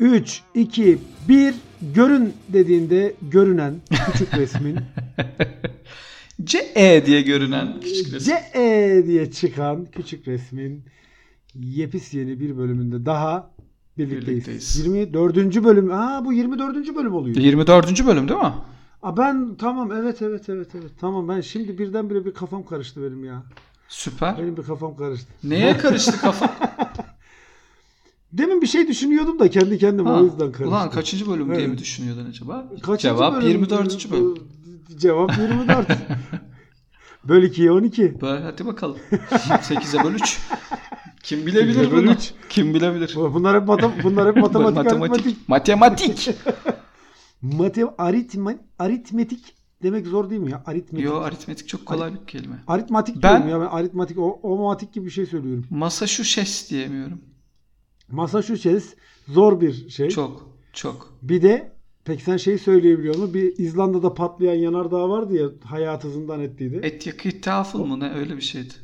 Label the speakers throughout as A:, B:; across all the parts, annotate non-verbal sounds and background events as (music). A: 3, 2, 1 görün dediğinde görünen
B: (laughs)
A: küçük resmin E
B: CE diye görünen küçük resim.
A: CE E diye çıkan küçük resmin yepis yeni bir bölümünde daha birlikteyiz.
B: Birlikteyiz.
A: 24. bölüm. Aa bu 24. bölüm oluyor.
B: 24. bölüm değil mi?
A: Aa, ben tamam evet evet evet evet. Tamam ben şimdi birdenbire bir kafam karıştı benim ya.
B: Süper.
A: Benim bir kafam karıştı.
B: Neye karıştı kafa?
A: Demin bir şey düşünüyordum da kendi kendime (laughs)
B: Ha,
A: o yüzden karıştı.
B: Ulan kaçıncı bölüm diye
A: Evet.
B: mi düşünüyordun acaba?
A: Kaçıncı
B: Cevap
A: bölüm?
B: 24. bölüm.
A: Cevap 24.
B: (laughs)
A: Böl 2'ye 12.
B: Böyle,
A: (laughs)
B: hadi bakalım. 8'e böl 3. Kim bilebilir
A: Sekize böl
B: bunu?
A: üç.
B: Kim bilebilir?
A: Bu- Bunlar hep, matem- bunlar hep matematik, aritmetik.
B: matematik. matematik.
A: (laughs) Matem- aritme- aritmetik demek zor değil mi ya? Aritmetik.
B: Yo aritmetik çok kolay bir kelime.
A: Aritmatik
B: Ben-
A: diyorum ya ben aritmatik, o, omatik gibi bir şey söylüyorum.
B: Masa şu şes diyemiyorum.
A: Massachusetts zor bir şey.
B: Çok çok.
A: Bir de peki sen şeyi söyleyebiliyor musun? Bir İzlanda'da patlayan yanardağ vardı ya hayatı zindan ettiydi.
B: Et yakı tafıl mı ne öyle bir şeydi.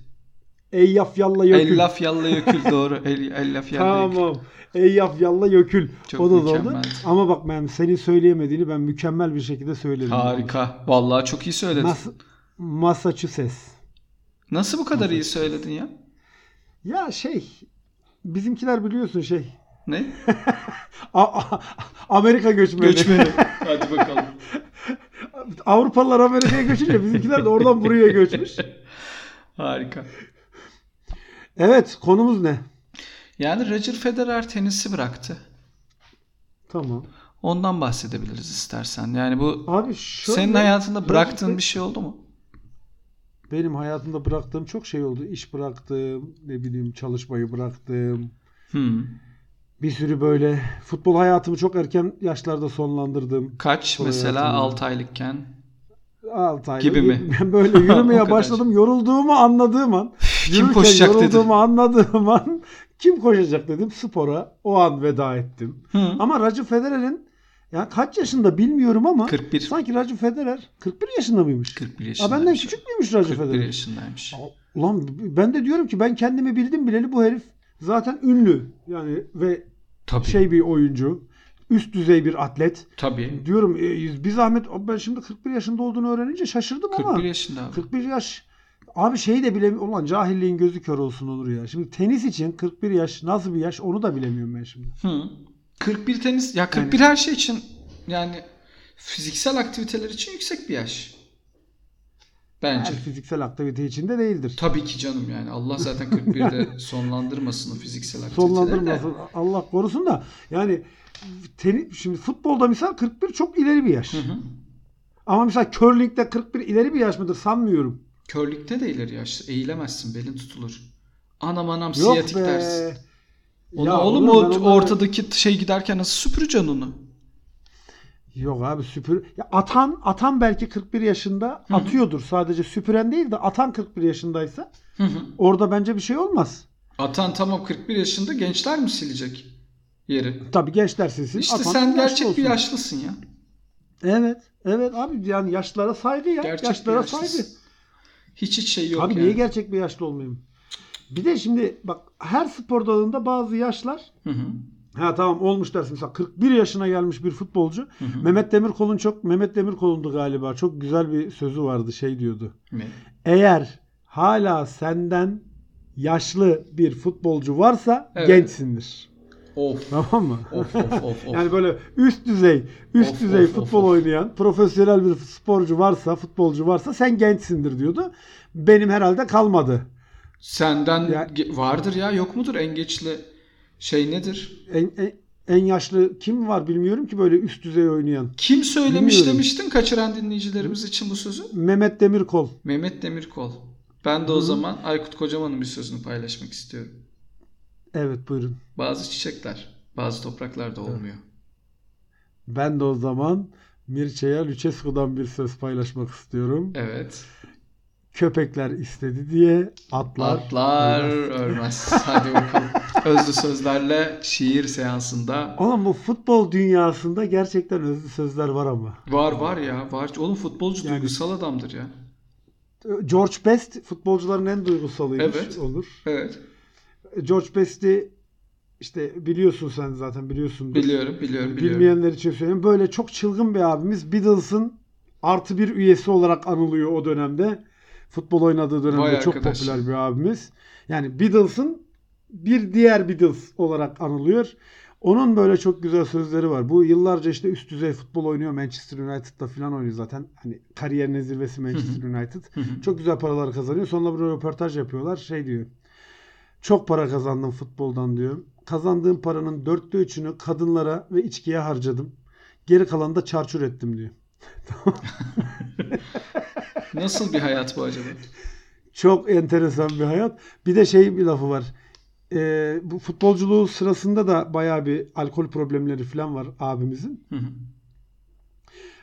A: Ey yaf yalla yökül.
B: El laf yalla yökül doğru. El, el laf yalla yökül.
A: Tamam. Ey yaf yalla yökül.
B: Çok
A: o da zordu.
B: mükemmeldi.
A: Ama bak ben senin söyleyemediğini ben mükemmel bir şekilde söyledim.
B: Harika. Vallahi çok iyi söyledin.
A: Mas- Massachusetts.
B: Nasıl bu kadar iyi söyledin ya?
A: Ya şey bizimkiler biliyorsun şey.
B: Ne?
A: (laughs) A- A- Amerika göçmeni.
B: Göçmeni. Hadi bakalım.
A: (laughs) Avrupalılar Amerika'ya göçünce bizimkiler de oradan buraya göçmüş.
B: Harika.
A: Evet konumuz ne?
B: Yani Roger Federer tenisi bıraktı.
A: Tamam.
B: Ondan bahsedebiliriz istersen. Yani bu
A: Abi şöyle,
B: senin hayatında bıraktığın
A: Roger
B: bir şey oldu mu?
A: Benim hayatımda bıraktığım çok şey oldu. İş bıraktım, ne bileyim çalışmayı bıraktım.
B: Hmm.
A: Bir sürü böyle futbol hayatımı çok erken yaşlarda sonlandırdım.
B: Kaç
A: Kolay
B: mesela
A: hayatım.
B: 6 aylıkken?
A: 6 ay
B: Gibi mi?
A: Ben (laughs)
B: (laughs)
A: böyle
B: O
A: yürümeye
B: kadar.
A: başladım. Yorulduğumu anladığım an.
B: Kim
A: yürürken
B: koşacak dedi.
A: yorulduğumu anladığım an (laughs) kim koşacak dedim. Spora o an veda ettim.
B: Hı.
A: Ama Roger Federer'in ya kaç yaşında bilmiyorum ama
B: 41.
A: sanki Roger Federer 41 yaşında mıymış?
B: 41
A: Aa,
B: yaşındaymış.
A: benden küçük müymüş Roger
B: 41
A: Federer?
B: yaşındaymış.
A: Ulan ben de diyorum ki ben kendimi bildim bileli bu herif zaten ünlü. Yani ve
B: Tabii.
A: şey bir oyuncu. Üst düzey bir atlet.
B: Tabii.
A: Diyorum e, bir zahmet ben şimdi 41 yaşında olduğunu öğrenince şaşırdım ama.
B: 41 yaşında abi.
A: 41 yaş. Abi şeyi de bilemiyorum. Ulan cahilliğin gözü kör olsun Onur ya. Şimdi tenis için 41 yaş nasıl bir yaş onu da bilemiyorum ben şimdi.
B: Hı. 41 tenis ya 41 her şey için yani fiziksel aktiviteler için yüksek bir yaş. Bence.
A: Her fiziksel aktivite içinde değildir.
B: Tabii ki canım yani. Allah zaten
A: (laughs)
B: 41'de sonlandırmasın o fiziksel aktiviteleri. de.
A: Sonlandırmasın. Allah korusun da yani teni, şimdi futbolda misal 41 çok ileri bir yaş.
B: Hı hı.
A: Ama mesela curling'de 41 ileri bir yaş mıdır sanmıyorum.
B: Körlükte de ileri yaşlı. Eğilemezsin. Belin tutulur. Anam anam
A: Yok
B: siyatik
A: be.
B: dersin. Onu,
A: Ya
B: oğlum
A: olur,
B: o
A: ben onları-
B: ortadaki şey giderken nasıl süpüreceksin onu?
A: Yok abi süpür. Ya atan atan belki 41 yaşında
B: Hı hı.
A: atıyordur sadece süpüren değil de atan 41 yaşındaysa
B: Hı hı.
A: orada bence bir şey olmaz.
B: Atan tamam 41 yaşında gençler mi silecek yeri?
A: Tabii gençler sizin.
B: İşte
A: atan
B: sen
A: yaşlı
B: gerçek
A: olsun.
B: bir yaşlısın ya.
A: Evet. Evet abi yani yaşlara saygı ya.
B: Gerçek
A: yaşlara
B: bir yaşlısın.
A: saygı.
B: Hiç hiç şey yok
A: abi
B: yani.
A: niye gerçek bir yaşlı olmayayım? Bir de şimdi bak her spor dalında bazı yaşlar
B: Hı hı.
A: Ha tamam olmuş dersin. Mesela 41 yaşına gelmiş bir futbolcu.
B: Hı hı.
A: Mehmet Demirkol'un çok Mehmet Demirkol'undu galiba. Çok güzel bir sözü vardı. Şey diyordu.
B: Ne?
A: Eğer hala senden yaşlı bir futbolcu varsa
B: Evet.
A: gençsindir. (laughs)
B: Of.
A: Tamam mı?
B: Of of of
A: (laughs)
B: of.
A: yani böyle üst düzey, üst
B: Of,
A: düzey
B: of,
A: futbol
B: of, of.
A: oynayan profesyonel bir sporcu varsa, futbolcu varsa sen gençsindir diyordu. Benim herhalde kalmadı.
B: Senden
A: Ya-
B: ge- vardır ya yok mudur en geçli şey nedir?
A: En, en, en yaşlı kim var bilmiyorum ki böyle üst düzey oynayan.
B: Kim söylemiş
A: Bilmiyorum.
B: demiştin kaçıran dinleyicilerimiz için bu sözü?
A: Mehmet Demirkol.
B: Mehmet Demirkol. Ben de o zaman Aykut Kocaman'ın bir sözünü paylaşmak istiyorum.
A: Evet buyurun.
B: Bazı çiçekler bazı topraklarda olmuyor.
A: Ben de o zaman Mircea Lucescu'dan bir söz paylaşmak istiyorum.
B: Evet.
A: Köpekler istedi diye atlar.
B: Atlar
A: ölmez.
B: örmez.
A: (laughs)
B: Hadi bakalım. Özlü sözlerle şiir seansında
A: Oğlum bu futbol dünyasında gerçekten özlü sözler var ama.
B: var var ya var. Oğlum futbolcu
A: Yani-
B: duygusal adamdır ya.
A: George Best futbolcuların en duygusalıymış
B: Evet.
A: olur.
B: Evet.
A: George Best'i işte biliyorsun sen zaten biliyorsun.
B: Biliyorum, biliyorum, biliyorum.
A: Bilmeyenler için söyleyeyim. Böyle çok çılgın bir abimiz Beatles'ın artı bir üyesi olarak anılıyor o dönemde. Futbol oynadığı dönemde
B: Vay
A: çok
B: arkadaş.
A: popüler bir abimiz. Yani Beatles'ın bir diğer Beatles olarak anılıyor. Onun böyle çok güzel sözleri var. Bu yıllarca işte üst düzey futbol oynuyor. Manchester United'da falan oynuyor zaten. Hani kariyerinin zirvesi Manchester United. Çok güzel paralar kazanıyor. Sonra böyle röportaj yapıyorlar. Şey diyor. Çok para kazandım futboldan diyor. Kazandığım paranın dörtte üçünü kadınlara ve içkiye harcadım. Geri kalanı da çarçur ettim diyor.
B: Nasıl bir hayat bu acaba?
A: Çok enteresan bir hayat. Bir de şey bir lafı var. Ee, bu futbolculuğu sırasında da bayağı bir alkol problemleri falan var abimizin.
B: Hı hı.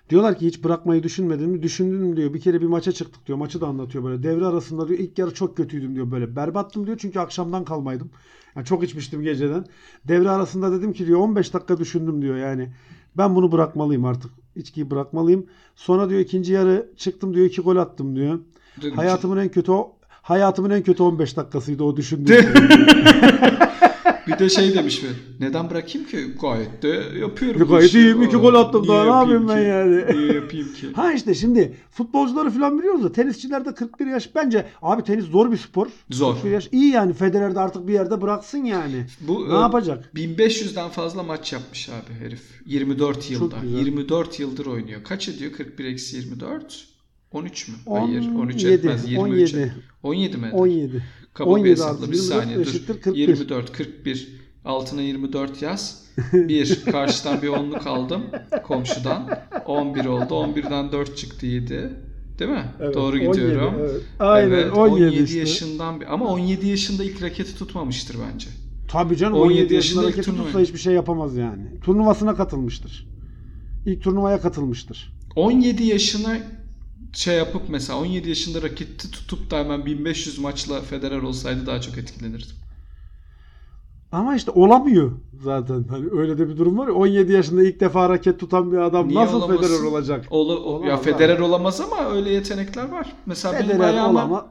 A: Diyorlar ki hiç bırakmayı düşünmedin mi? Düşündüm diyor. Bir kere bir maça çıktık diyor. Maçı da anlatıyor böyle. Devre arasında diyor ilk yarı çok kötüydüm diyor böyle. Berbattım diyor çünkü akşamdan kalmaydım. Yani çok içmiştim geceden. Devre arasında dedim ki diyor 15 dakika düşündüm diyor yani. Ben bunu bırakmalıyım artık. İçkiyi bırakmalıyım. Sonra diyor ikinci yarı çıktım diyor iki gol attım diyor.
B: Dün-
A: Hayatımın en kötü o- hayatımın en kötü 15 dakikasıydı o düşündüğüm.
B: (laughs)
A: şey.
B: Değil Bir de şey demiş mi? Neden bırakayım ki? Gayet de yapıyorum. bu
A: Gayet
B: işi.
A: iyiyim, iki gol
B: Aa,
A: attım.
B: niye
A: Daha ne
B: yapayım
A: yapayım ben
B: ki?
A: yani?
B: Niye yapayım ki?
A: Ha işte şimdi futbolcuları falan biliyoruz da tenisçilerde 41 yaş bence abi tenis zor bir spor.
B: Zor.
A: 41 yaş iyi yani Federer de artık bir yerde bıraksın yani.
B: Bu
A: şey, Ne
B: e,
A: yapacak?
B: 1500'den fazla maç yapmış abi herif. 24 yılda.
A: güzel.
B: 24 yıldır oynuyor. Kaç ediyor? 41 eksi 24. 13 mü?
A: On
B: Hayır 13
A: yedi,
B: etmez. 23
A: 17.
B: 17 mi? eder?
A: 17.
B: Kaba
A: 17
B: bir hesapla
A: artı
B: bir
A: 24
B: saniye
A: eşittir
B: dur.
A: 41.
B: 24, 41. Altına 24 yaz.
A: (laughs)
B: 1. Karşıdan bir onluk aldım komşudan. 11 oldu. 11'den 4 çıktı 7. Değil mi?
A: Evet,
B: Doğru
A: 17,
B: gidiyorum.
A: evet. Aynen
B: Evet,
A: 17,
B: 17
A: işte.
B: yaşından bir- ama 17 yaşında ilk raketi tutmamıştır bence.
A: Tabii canım 17,
B: 17
A: yaşında
B: yaşında ilk
A: rakip
B: turnuva.
A: tutsa hiçbir şey yapamaz yani. Turnuvasına katılmıştır. İlk turnuvaya katılmıştır.
B: 17 yaşına şey yapıp mesela 17 yaşında raketi tutup da hemen 1500 maçla Federer olsaydı daha çok etkilenirdim.
A: Ama işte olamıyor zaten. Hani öyle de bir durum var ya 17 yaşında ilk defa raket tutan bir adam
B: Niye
A: nasıl
B: olamasın?
A: Federer olacak?
B: Ola, o- ya
A: Olamaz abi.
B: Federer olamaz ama öyle yetenekler var. Mesela benim
A: Federer
B: ayağıma
A: olama.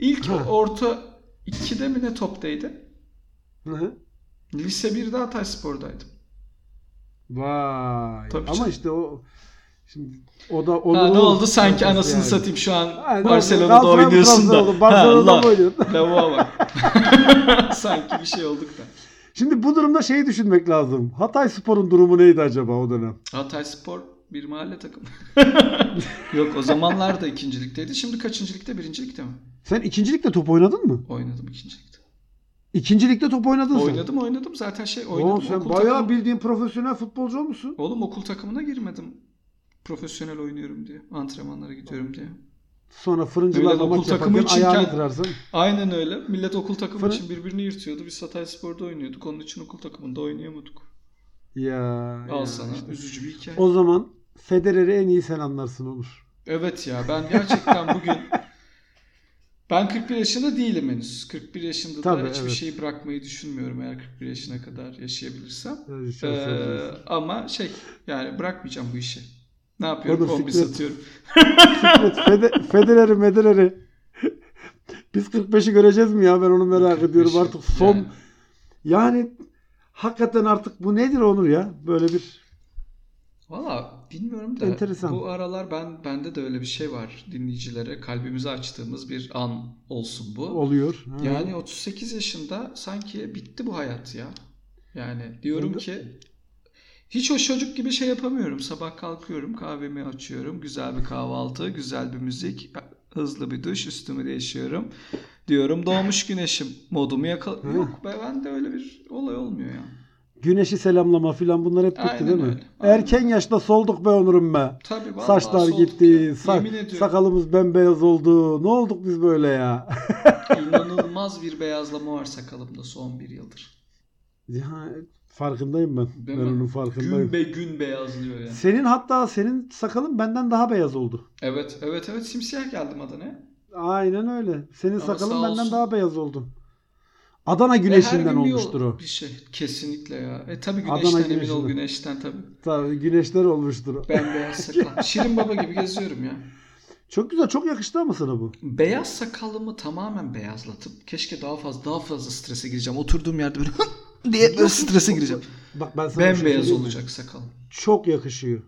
B: ilk
A: Ha.
B: orta 2'de mi ne toptaydı?
A: Hı hı.
B: Lise 1'de Hatay Spor'daydım.
A: Vay.
B: Tabii
A: Ama
B: canım.
A: işte o şimdi o da
B: Ha, ne
A: onun-
B: oldu sanki
A: yani.
B: anasını satayım şu an
A: Ha, ne oldu?
B: Barcelona'da
A: Galatasaray mı
B: oynuyorsun da.
A: Trabzon'da? Barcelona'da
B: Ha,
A: mı
B: la-
A: oynuyorsun?
B: (laughs) Lavuğa bak. sanki bir şey olduk da.
A: (laughs) Şimdi bu durumda şeyi düşünmek lazım. Hatay Spor'un durumu neydi acaba o dönem?
B: Hatay Spor bir mahalle takımı. (laughs) Yok o zamanlar da ikincilikteydi. Şimdi kaçıncılıkta? Birincilikte mi?
A: Sen ikincilikte top oynadın mı?
B: Oynadım ikincilikte.
A: İkincilikte top oynadın sen.
B: Oynadım oynadım zaten şey oynadım.
A: Oğlum sen
B: okul
A: bayağı
B: takımı-
A: bildiğin profesyonel futbolcu olmuşsun.
B: Oğlum okul takımına girmedim. Profesyonel oynuyorum diye. Antrenmanlara gidiyorum diye.
A: Sonra
B: Öyle de
A: fırıncılarla
B: okul
A: maç
B: takımı
A: yaparken
B: için
A: ayağını
B: kend-
A: kırarsın.
B: Aynen öyle. Millet okul takımı
A: Fırın-
B: için birbirini yırtıyordu. Biz Hatay Spor'da oynuyorduk. Onun için okul takımında oynayamadık.
A: Ya.
B: Al
A: ya
B: sana.
A: işte.
B: Üzücü bir hikaye.
A: O zaman Federer'i en iyi sen anlarsın olur.
B: Evet ya ben gerçekten
A: (laughs)
B: bugün ben 41 yaşında değilim henüz. 41 yaşında da
A: Tabii,
B: hiçbir
A: evet.
B: şeyi bırakmayı düşünmüyorum eğer 41 yaşına kadar yaşayabilirsem.
A: Öyle
B: Ee,
A: şey söyleyeceksin.
B: ama şey yani bırakmayacağım bu işi. Ne
A: Oğlum,
B: yapıyorum? Kombi
A: Fikret-
B: satıyorum.
A: Evet, Fede- Federer'i Mederer'i. Biz 45'i göreceğiz mi ya ben onu merak
B: 45'i,
A: ediyorum artık son.
B: yani.
A: Yani. hakikaten artık bu nedir Onur ya? Böyle bir
B: Valla bilmiyorum da
A: Enteresan.
B: bu aralar ben bende de öyle bir şey var dinleyicilere kalbimizi açtığımız bir an olsun bu.
A: oluyor. Ha.
B: Yani 38 yaşında sanki bitti bu hayat ya. Yani diyorum
A: Oldu.
B: ki hiç o çocuk gibi şey yapamıyorum. Sabah kalkıyorum, kahvemi açıyorum, güzel bir kahvaltı, güzel bir müzik, hızlı bir duş, üstümü değişiyorum. Diyorum doğmuş güneşim modumu yakal...
A: Hı.
B: Yok be ben de öyle bir olay olmuyor ya.
A: Güneşi selamlama filan bunlar hep bitti
B: Aynen
A: değil mi?
B: öyle. Aynen.
A: Erken yaşta solduk be Onur'um be.
B: Tabii vallahi
A: Saçlar
B: solduk
A: gitti,
B: ya.
A: sa-
B: Yemin ediyorum
A: sakalımız bembeyaz oldu. Ne olduk biz böyle ya?
B: inanılmaz bir beyazlama var sakalımda son bir yıldır.
A: Ya, (laughs) farkındayım ben.
B: Değil
A: ben
B: mi?
A: onun
B: Gün
A: farkındayım.
B: be gün beyazlıyor yani.
A: Senin hatta senin sakalın benden daha beyaz oldu.
B: Evet evet evet simsiyah geldim Adana'ya.
A: Aynen öyle. Senin
B: Ama
A: sakalın
B: sağ
A: benden
B: olsun.
A: daha beyaz oldu. Adana
B: Ve her
A: güneşinden
B: gün bir yol-
A: olmuştur o.
B: Bir şey kesinlikle ya. E tabii
A: Adana
B: güneşten emin
A: güneşinden.
B: ol güneşten tabii.
A: Tabii güneşler olmuştur o. (laughs)
B: Bembeyaz sakal. Şirin baba gibi geziyorum ya.
A: Çok güzel, çok yakıştı ama sana bu.
B: Beyaz sakalımı tamamen beyazlatıp keşke daha fazla daha fazla strese gireceğim. Oturduğum yerde böyle (laughs) diye böyle strese gireceğim.
A: Bak ben sana bir şey
B: Bembeyaz
A: söyleyeyim mi?
B: olacak sakal.
A: Çok yakışıyor.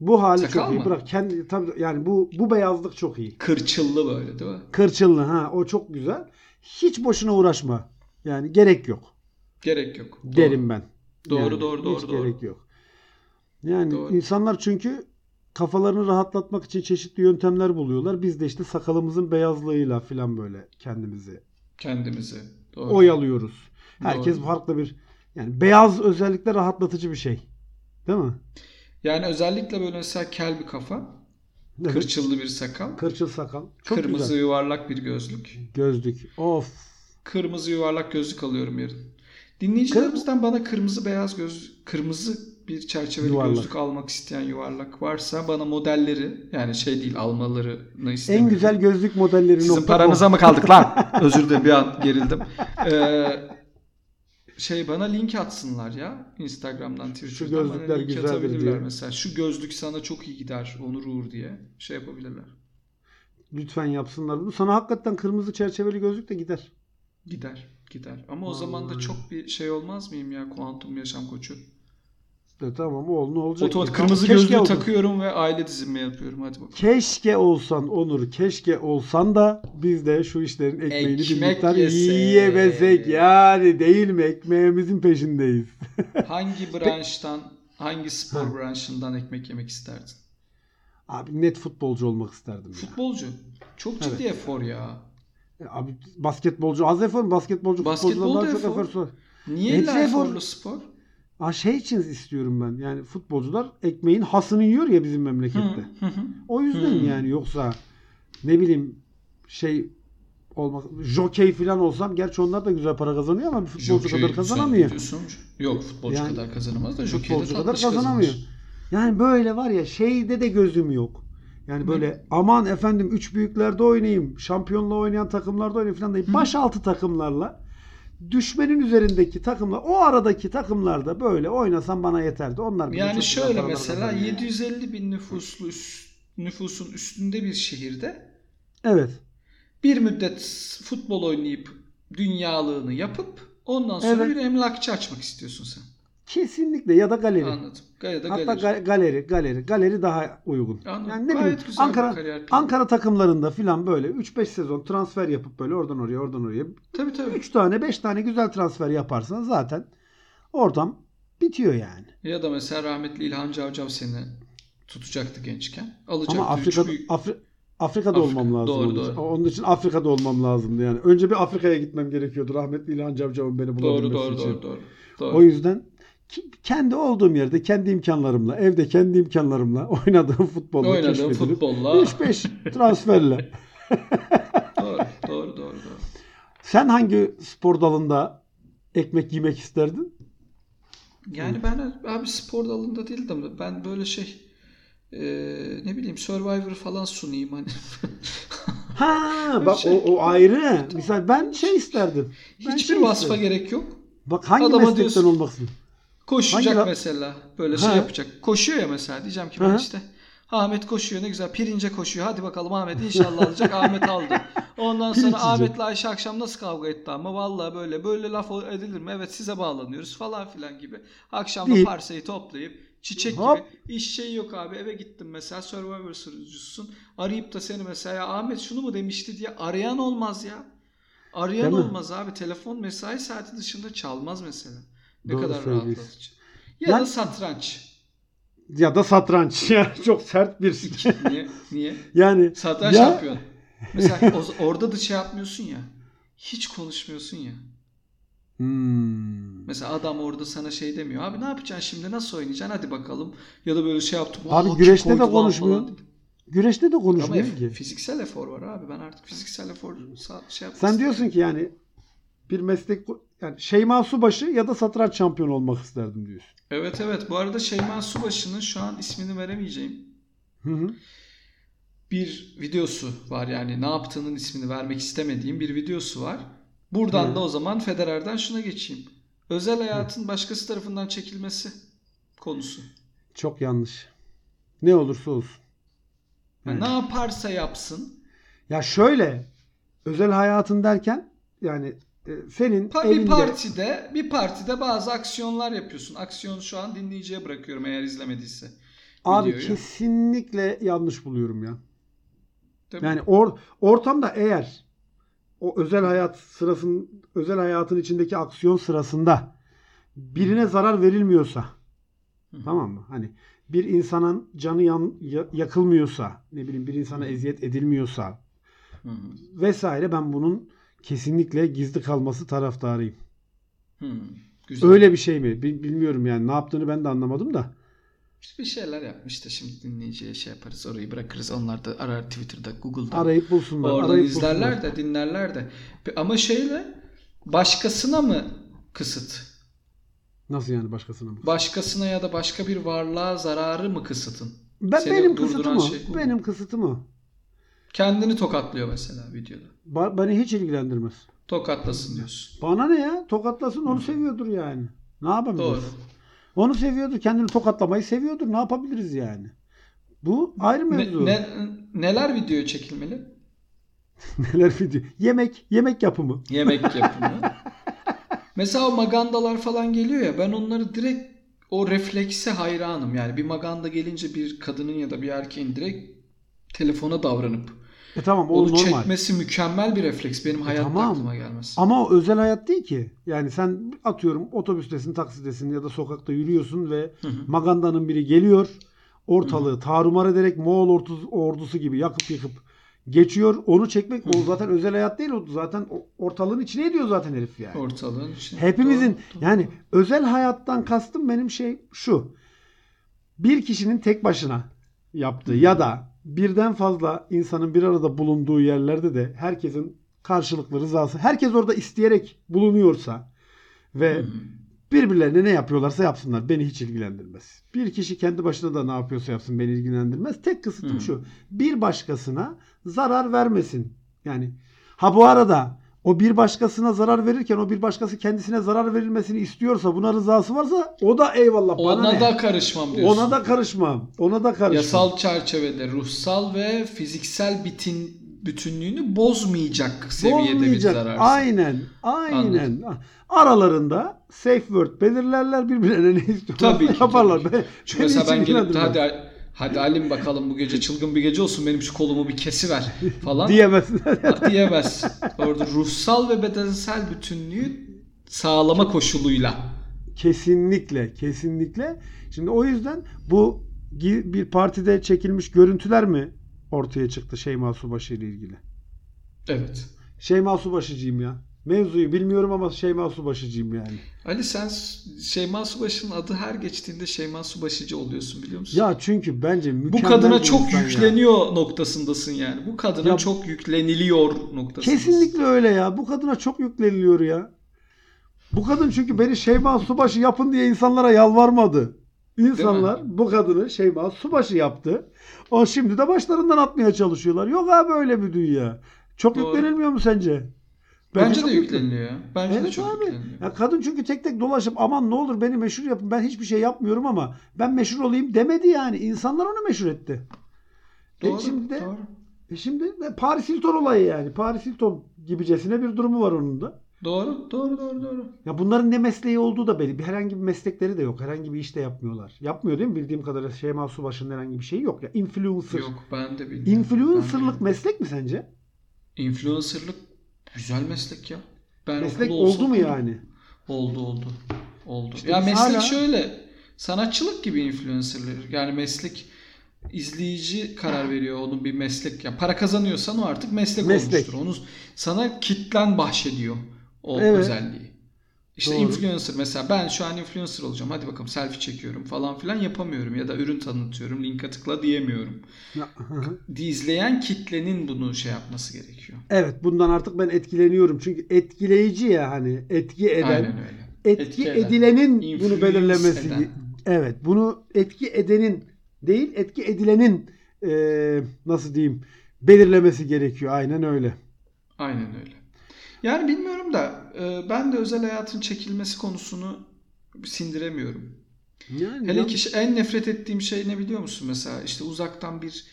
A: Bu hali
B: Sakal
A: çok iyi.
B: mı?
A: Bırak kendi tabii yani bu bu beyazlık çok iyi.
B: Kırçıllı böyle değil mi?
A: Kırçınlı ha o çok güzel. Hiç boşuna uğraşma. Yani gerek yok
B: Gerek yok. Doğru.
A: derim ben.
B: Doğru,
A: Yani
B: doğru, doğru,
A: Hiç
B: doğru.
A: gerek yok. Yani
B: Doğru.
A: insanlar çünkü kafalarını rahatlatmak için çeşitli yöntemler buluyorlar. Biz de işte sakalımızın beyazlığıyla falan böyle kendimizi
B: Kendimizi. Doğru.
A: oyalıyoruz. Herkes
B: Doğru.
A: farklı bir yani beyaz özellikle rahatlatıcı bir şey. Değil mi?
B: Yani özellikle böyle mesela kel bir kafa,
A: Evet.
B: kırçıllı bir sakal,
A: Kırçıl sakal. Çok
B: kırmızı
A: güzel.
B: yuvarlak bir gözlük.
A: Gözlük. Of.
B: Kırmızı yuvarlak gözlük alıyorum yarın. Dinleyicilerimizden bana kırmızı beyaz göz, kırmızı bir çerçeveli
A: Yuvarlak.
B: gözlük almak isteyen yuvarlak varsa bana modelleri yani şey değil almalarını istemiyorum.
A: En güzel gözlük modelleri
B: Sizin
A: nokta
B: paranıza
A: com.
B: mı
A: (laughs)
B: kaldık lan? Özür dilerim bir an gerildim. Ee, şey bana link atsınlar ya Instagram'dan Twitter'dan. Bana
A: gözlükler
B: link
A: güzeldir
B: atabilirler
A: diye.
B: Mesela şu gözlük sana çok iyi gider Onur Uğur diye şey yapabilirler.
A: Lütfen yapsınlar bunu. Sana hakikaten kırmızı çerçeveli gözlük de gider.
B: Gider gider. Ama o zaman da
A: Vallahi.
B: çok bir şey olmaz mıyım ya kuantum yaşam koçu?
A: E, tamam oğlum ne olacak?
B: Otomatik
A: ki? Tamam,
B: kırmızı
A: keşke
B: gözlüğü
A: olsan.
B: takıyorum ve aile dizimi yapıyorum. Hadi
A: (laughs)
B: bakalım.
A: Keşke olsan Onur, keşke olsan da biz de şu işlerin ekmeğini bir
B: Ekmek
A: miktar
B: yesek.
A: yiyemesek yani değil mi? Ekmeğimizin peşindeyiz.
B: Hangi branştan, hangi spor
A: Ha.
B: branşından ekmek yemek isterdin?
A: Abi net futbolcu olmak isterdim ya.
B: Futbolcu. Çok ciddi efor ya.
A: E, Abi basketbolcu az efor mu? Basketbolcu
B: Basketbol
A: futbolcudan
B: da
A: daha çok
B: efor.
A: efor. sor-
B: Niye
A: Hepsi
B: illa
A: efor.
B: eforlu spor?
A: Ha şey için istiyorum ben. Yani futbolcular ekmeğin hasını yiyor ya bizim memlekette.
B: Hı hı.
A: O yüzden
B: Hmm.
A: yani yoksa ne bileyim şey olmak jokey falan olsam gerçi onlar da güzel para kazanıyor ama bir futbolcu
B: Jockey
A: kadar
B: güzel
A: kazanamıyor.
B: gidiyorsun. Yok futbolcu
A: Yani
B: kadar kazanamaz da jockey de
A: Futbolcu kadar
B: tatlış
A: kazanamıyor.
B: kazanır.
A: Yani böyle var ya şeyde de gözüm yok. Yani
B: Hı.
A: böyle aman efendim üç büyüklerde oynayayım, şampiyonla oynayan takımlarda oynayayım falan değil. Baş altı takımlarla düşmenin üzerindeki takımlar o aradaki takımlarda böyle oynasam bana yeterdi. Onlar bile çok
B: Yani
A: güzel
B: şöyle
A: paralar
B: mesela
A: kazanıyor.
B: 750 bin nüfuslu üst- nüfusun üstünde bir şehirde
A: Evet.
B: bir müddet futbol oynayıp dünyalığını yapıp ondan sonra
A: Evet.
B: bir emlakçı açmak istiyorsun sen.
A: Kesinlikle ya da galeri.
B: Anladım. Gayet de
A: Hatta
B: galeri.
A: ga- galeri, galeri, galeri daha uygun.
B: Anladım.
A: Yani ne
B: Gayet
A: bileyim
B: güzel bir
A: Ankara
B: kariyer planı.
A: Ankara takımlarında filan böyle 3-5 sezon transfer yapıp böyle oradan oraya, oradan oraya
B: Tabii tabii.
A: 3 tane 5 tane güzel transfer yaparsan zaten oradan bitiyor yani.
B: Ya da mesela rahmetli İlhan Cavcav seni tutacaktı gençken. Alacaktı.
A: Ama
B: üç
A: Afrika
B: büyük-
A: Afri- Afrika'da
B: Afrika.
A: olmam lazım.
B: Doğru,
A: onun, için.
B: doğru.
A: onun için Afrika'da olmam lazımdı yani. Önce bir Afrika'ya gitmem gerekiyordu. Rahmetli İlhan Cavcav'ın beni bulabilmesi
B: Doğru doğru
A: için.
B: doğru doğru.
A: O
B: Doğru.
A: yüzden ki- kendi olduğum yerde kendi imkanlarımla, evde kendi imkanlarımla (laughs) oynadığım futbolla
B: Oynadığın
A: keşfedilip
B: futbolla.
A: 3-5 transferle.
B: (laughs) doğru, doğru, doğru, doğru.
A: Sen hangi spor dalında ekmek yemek isterdin?
B: Yani ben abi spor dalında değildim. de Ben böyle şey e, ne bileyim Survivor falan sunayım hani. (laughs)
A: Ha bak o, o ayrı. Misal ben şey isterdim. Ben
B: şey. Hiçbir
A: şey
B: vasfa
A: isterim.
B: gerek yok.
A: Bak hangi
B: Adama
A: meslekten
B: diyorsun-
A: olmaksın?
B: Koşacak
A: Hangi la-
B: mesela. Böyle
A: Ha.
B: şey yapacak. Koşuyor ya mesela diyeceğim ki ben
A: Hı hı.
B: işte Ahmet koşuyor ne güzel pirince koşuyor. Hadi bakalım Ahmet inşallah alacak. Ahmet aldı. Ondan
A: Pirinç
B: sonra
A: yiyecek.
B: Ahmet'le Ayşe akşam nasıl kavga etti ama vallahi böyle böyle laf edilir mi? Evet size bağlanıyoruz falan filan gibi. Akşam da
A: Değil.
B: parsayı toplayıp çiçek
A: Hop.
B: gibi iş şey yok abi eve gittim mesela Survivor sürücüsün. Arayıp da seni mesela "Ya Ahmet şunu mu demişti diye arayan olmaz ya. Arayan
A: Değil mi?
B: olmaz abi. Telefon mesai saati dışında çalmaz mesela. Ne
A: Doğru
B: kadar
A: söylüyorsun.
B: rahatlatıcı. Ya
A: Yani-
B: da satranç.
A: Ya da satranç. (laughs) Ya çok sert bir (laughs)
B: Niye? Niye?
A: Yani
B: Satranç
A: Ya-
B: yapıyorsun. Mesela o- orada da şey yapmıyorsun ya. Hiç konuşmuyorsun ya.
A: Hmm.
B: Mesela adam orada sana şey demiyor. Abi ne yapacaksın şimdi? Nasıl oynayacaksın? Hadi bakalım. Ya da böyle şey yaptım.
A: Abi
B: "Aa,
A: güreşte
B: kim koydu
A: de
B: lan?"
A: konuşmuyor.
B: falan.
A: güreşte de
B: Ama
A: konuşmuyor
B: ef-
A: ki.
B: fiziksel efor var abi. Ben artık fiziksel efor sa- şey yapmak
A: Sen
B: istemiyorum.
A: diyorsun ki yani bir meslek yani Şeyma Subaşı ya da satranç şampiyonu olmak isterdim diyorsun.
B: Evet evet. Bu arada Şeyma Subaşı'nın şu an ismini veremeyeceğim.
A: Hı hı.
B: bir videosu var yani ne yaptığının ismini vermek istemediğim bir videosu var. Buradan
A: Hı.
B: da o zaman Federer'den şuna geçeyim. Özel hayatın başkası tarafından çekilmesi konusu.
A: Çok yanlış. Ne olursa olsun.
B: Yani
A: Hı.
B: Ne yaparsa yapsın.
A: Ya şöyle özel hayatın derken yani e, senin
B: Pa-
A: evinde
B: bir partide bir partide bazı aksiyonlar yapıyorsun. Aksiyonu şu an dinleyiciye bırakıyorum eğer izlemediyse.
A: abi
B: videoyu.
A: kesinlikle yanlış buluyorum ya.
B: Tabii.
A: Yani or, ortamda eğer o özel hayat sırasının özel hayatın içindeki aksiyon sırasında
B: Hmm.
A: birine zarar verilmiyorsa
B: Hı hı.
A: tamam mı? Hani bir insanın canı yan, ya- yakılmıyorsa, ne bileyim bir
B: Hmm.
A: insana eziyet edilmiyorsa
B: Hı hı.
A: vesaire ben bunun kesinlikle gizli kalması taraftarıyım.
B: Hı. Güzel.
A: Öyle bir şey mi? Bil- Bilmiyorum yani ne yaptığını ben de anlamadım da.
B: İşte bir şeyler yapmıştı. Şimdi dinleyiciye şey yaparız. Orayı bırakırız. Onlar da arar Twitter'da, Google'da.
A: Arayıp bulsunlar.
B: Oradan
A: arayıp
B: izlerler
A: bulsunlar.
B: de dinlerler de. Pe- Ama şeyle başkasına mı kısıt?
A: Nasıl yani başkasına mı?
B: Başkasına ya da başka bir varlığa zararı mı kısıtın?
A: Ben
B: Seni
A: benim
B: durduran
A: kısıtım o.
B: şey bu mu?
A: benim kısıtım o.
B: Kendini tokatlıyor mesela videoda.
A: Ba- beni hiç ilgilendirmez.
B: Tokatlasın diyorsun.
A: Bana ne ya? Tokatlasın onu seviyordur yani. Ne
B: Doğru.
A: yapabiliriz? Onu seviyordur. Kendini tokatlamayı seviyordur. Ne yapabiliriz yani? Bu ayrı mevzu.
B: Ne- ne- neler video çekilmeli?
A: (laughs) Neler video? Yemek. Yemek yapımı.
B: Yemek yapımı. (laughs) Mesela o magandalar falan geliyor ya ben onları direkt o reflekse hayranım. Yani bir maganda gelince bir kadının ya da bir erkeğin direkt telefona davranıp
A: E tamam o
B: onu
A: normal. E,
B: çekmesi mükemmel bir refleks. Benim hayatta
A: tamam.
B: aklıma gelmez.
A: Ama o özel hayat değil ki. Yani sen atıyorum otobüstesin, taksidesin ya da sokakta yürüyorsun ve
B: Hı hı.
A: Maganda'nın biri geliyor. Ortalığı tarumar ederek Moğol ortu- ordusu gibi yakıp yıkıp geçiyor. Onu çekmek o zaten özel hayat değil. O zaten o- ortalığın içine ediyor zaten herif yani.
B: Ortalığın içinde.
A: Hepimizin
B: Doğru, doğru.
A: yani özel hayattan kastım benim şey şu. Bir kişinin tek başına yaptığı
B: Hmm.
A: ya da birden fazla insanın bir arada bulunduğu yerlerde de herkesin karşılıklı rızası, herkes orada isteyerek bulunuyorsa ve
B: Hı hı.
A: birbirlerine ne yapıyorlarsa yapsınlar beni hiç ilgilendirmez. Bir kişi kendi başına da ne yapıyorsa yapsın beni ilgilendirmez. Tek kısıtım
B: Hı hı.
A: şu. Bir başkasına zarar vermesin. Yani ha bu arada o bir başkasına zarar verirken o bir başkası kendisine zarar verilmesini istiyorsa buna rızası varsa o da eyvallah bana
B: Ona
A: ne?
B: da karışmam diyorsun.
A: ona da karışmam. Ona da karışmam.
B: Yasal çerçevede ruhsal ve fiziksel bitin bütünlüğünü bozmayacak seviyede
A: Olmayacak.
B: bir zarar.
A: Aynen. Aynen. Aralarında safe word belirlerler birbirlerine ne istiyorlarsa
B: Tabii ki,
A: yaparlar.
B: tabii
A: Ben-
B: Şu
A: beni
B: mesela
A: hiç
B: ben gelip de
A: ilgilendirmez.
B: hadi hadi Halim bakalım bu gece çılgın bir gece olsun benim şu kolumu
A: (laughs)
B: bir kesiver falan
A: diyemezsin.
B: (laughs) diyemez. Orada ruhsal ve bedensel bütünlüğü sağlama koşuluyla.
A: Kesinlikle, kesinlikle. Şimdi o yüzden bu gi- bir partide çekilmiş görüntüler mi ortaya çıktı Şeyma Subaşı ile ilgili?
B: Evet.
A: Şeyma Subaşıcıyım ya. Mevzuyu bilmiyorum ama Şeyma Subaşıcıyım yani.
B: Ali sen Şeyma Subaşı'nın adı her geçtiğinde Şeyma Subaşıcı oluyorsun biliyor musun?
A: Ya çünkü bence
B: bu
A: mükemmel
B: kadına
A: bir
B: çok
A: insan ya.
B: yükleniyor noktasındasın yani. Bu kadına
A: Ya-
B: çok yükleniliyor noktasındasın.
A: Kesinlikle öyle ya. Bu kadına çok yükleniliyor ya. Bu kadın çünkü beni Şeyma Subaşı yapın diye insanlara yalvarmadı. İnsanlar bu kadını Şeyma Subaşı yaptı. O şimdi de başlarından atmaya çalışıyorlar. Yok abi öyle bir dünya. Çok
B: Doğru.
A: yüklenilmiyor mu sence?
B: Bence
A: çok
B: de
A: yüklen-
B: yükleniliyor. ya. Bence de
A: Evet
B: çok
A: abi.
B: yükleniliyor.
A: Ya kadın çünkü tek tek dolaşıp aman ne olur beni meşhur yapın ben hiçbir şey yapmıyorum ama ben meşhur olayım demedi yani. İnsanlar onu meşhur etti. E
B: Doğru,
A: şimdi de-
B: doğru.
A: E şimdi de Paris Hilton olayı yani. Paris Hilton gibicesine bir durumu var onun da.
B: Doğru, doğru, doğru, doğru.
A: Ya bunların ne mesleği olduğu da belli. Bir herhangi bir meslekleri de yok. Herhangi bir iş de yapmıyorlar. Yapmıyor değil mi? Bildiğim kadarıyla Şeyma Subaşı'nın herhangi bir şeyi yok. Ya influencer.
B: Yok ben de bilmiyorum.
A: Influencer'lık
B: Ben de-
A: meslek mi sence?
B: Influencer'lık güzel meslek ya. Ben
A: meslek
B: okulda olsa
A: oldu mu
B: okudum.
A: yani?
B: Oldu oldu. Oldu.
A: İşte
B: ya
A: biz
B: meslek
A: hala-
B: şöyle. Sanatçılık gibi influencerlar. Yani meslek izleyici karar veriyor onun bir meslek. Ya para kazanıyorsan o artık meslek,
A: Meslek.
B: olmuştur. Onu sana kitlen bahşediyor o
A: Evet.
B: özelliği. İşte
A: Doğru.
B: influencer mesela ben şu an influencer olacağım. Hadi bakalım selfie çekiyorum falan filan yapamıyorum ya da ürün tanıtıyorum. Linke tıkla diyemiyorum.
A: Ya, hı hı.
B: İzleyen kitlenin bunu şey yapması gerekiyor.
A: evet bundan artık ben etkileniyorum. Çünkü etkileyici ya hani etki eden.
B: Aynen öyle.
A: Etki,
B: Etki eden.
A: edilenin bunu
B: Influence
A: belirlemesi.
B: eden.
A: Evet bunu etki edenin değil etki edilenin eee, nasıl diyeyim belirlemesi gerekiyor. Aynen öyle.
B: Aynen öyle. Yani bilmiyorum da e, ben de özel hayatın çekilmesi konusunu sindiremiyorum.
A: Yani
B: Hele
A: yan-
B: ki ş- en nefret ettiğim şey ne biliyor musun mesela işte uzaktan bir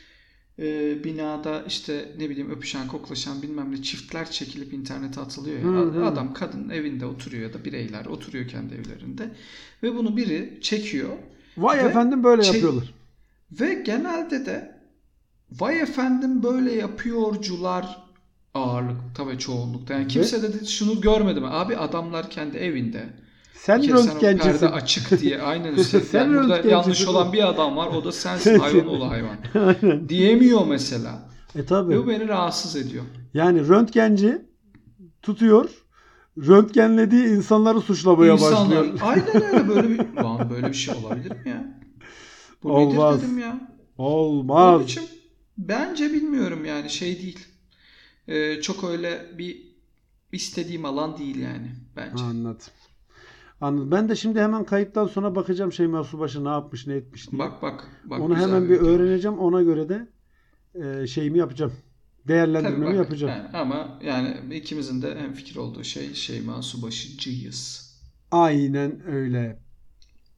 B: e, binada işte ne bileyim öpüşen koklaşan bilmem ne çiftler çekilip internete atılıyor. ya.
A: Hı hı.
B: Adam kadın evinde oturuyor ya da bireyler oturuyor kendi evlerinde ve bunu biri çekiyor
A: Vay
B: Ve
A: efendim böyle
B: şey-
A: yapıyorlar.
B: ve genelde de vay efendim böyle yapıyorcular ağırlıkta ve çoğunlukta. Yani kimse de dedi, şunu görmedim. Abi adamlar kendi evinde. Bir
A: Sen
B: kere sen o perde
A: röntgencisin.
B: açık diye aynen
A: Sen
B: üstelik. Yani burada
A: röntgencisin
B: yanlış
A: oğlum.
B: olan bir adam var. O da sensin. Hayvan oğlu hayvan.
A: (laughs) Aynen.
B: Diyemiyor mesela.
A: E tabi.
B: Bu beni rahatsız ediyor.
A: Yani röntgenci tutuyor. Röntgenlediği insanları suçlamaya
B: İnsanlar
A: başlıyor.
B: aynen öyle böyle bir Lan böyle bir şey olabilir mi ya? Bu
A: Olmaz.
B: nedir dedim ya?
A: Olmaz.
B: Onun için bence bilmiyorum yani şey değil. Ee, çok öyle bir istediğim alan değil yani bence.
A: Anladım. Anladım. Ben de şimdi hemen kayıttan sonra bakacağım Şeyma Subaşı ne yapmış ne etmiş diye.
B: Bak bak bak.
A: Onu
B: güzel
A: hemen bir
B: video.
A: öğreneceğim. Ona göre de e, şeyimi yapacağım.
B: Tabii
A: Değerlendirmemi
B: bak,
A: yapacağım.
B: yani ama yani ikimizin de en fikir olduğu şey Şeyma Subaşıcıyız.
A: Aynen öyle.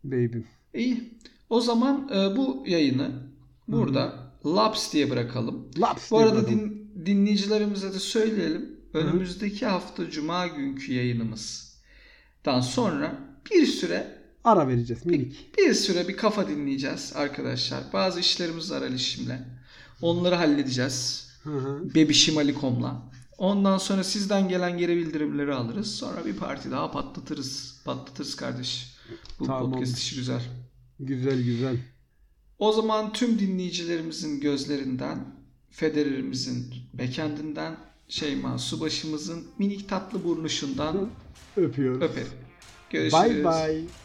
A: Baby'm.
B: İyi. O zaman e, bu yayını burada Laps diye bırakalım.
A: Laps
B: Bu
A: diye
B: arada
A: bırakalım.
B: din, dinleyicilerimize de söyleyelim.
A: Hı hı.
B: Önümüzdeki hafta Cuma günkü yayınımızdan sonra bir süre
A: Ara vereceğiz
B: (laughs)
A: minik.
B: bir süre bir kafa dinleyeceğiz arkadaşlar. Bazı işlerimiz var Alişim'le. Onları halledeceğiz.
A: Hı hı.
B: Bebişim Alikom'la. Ondan sonra sizden gelen geri bildirimleri alırız. Sonra bir parti daha patlatırız. Patlatırız kardeş. Bu
A: Tamam.
B: podcast işi güzel.
A: Güzel güzel.
B: O zaman tüm dinleyicilerimizin gözlerinden, Federer'imizin bekendinden, Şeyma Subaşımızın minik tatlı burnuşundan
A: Öpüyoruz.
B: öperim. Görüşürüz.
A: Bye bye.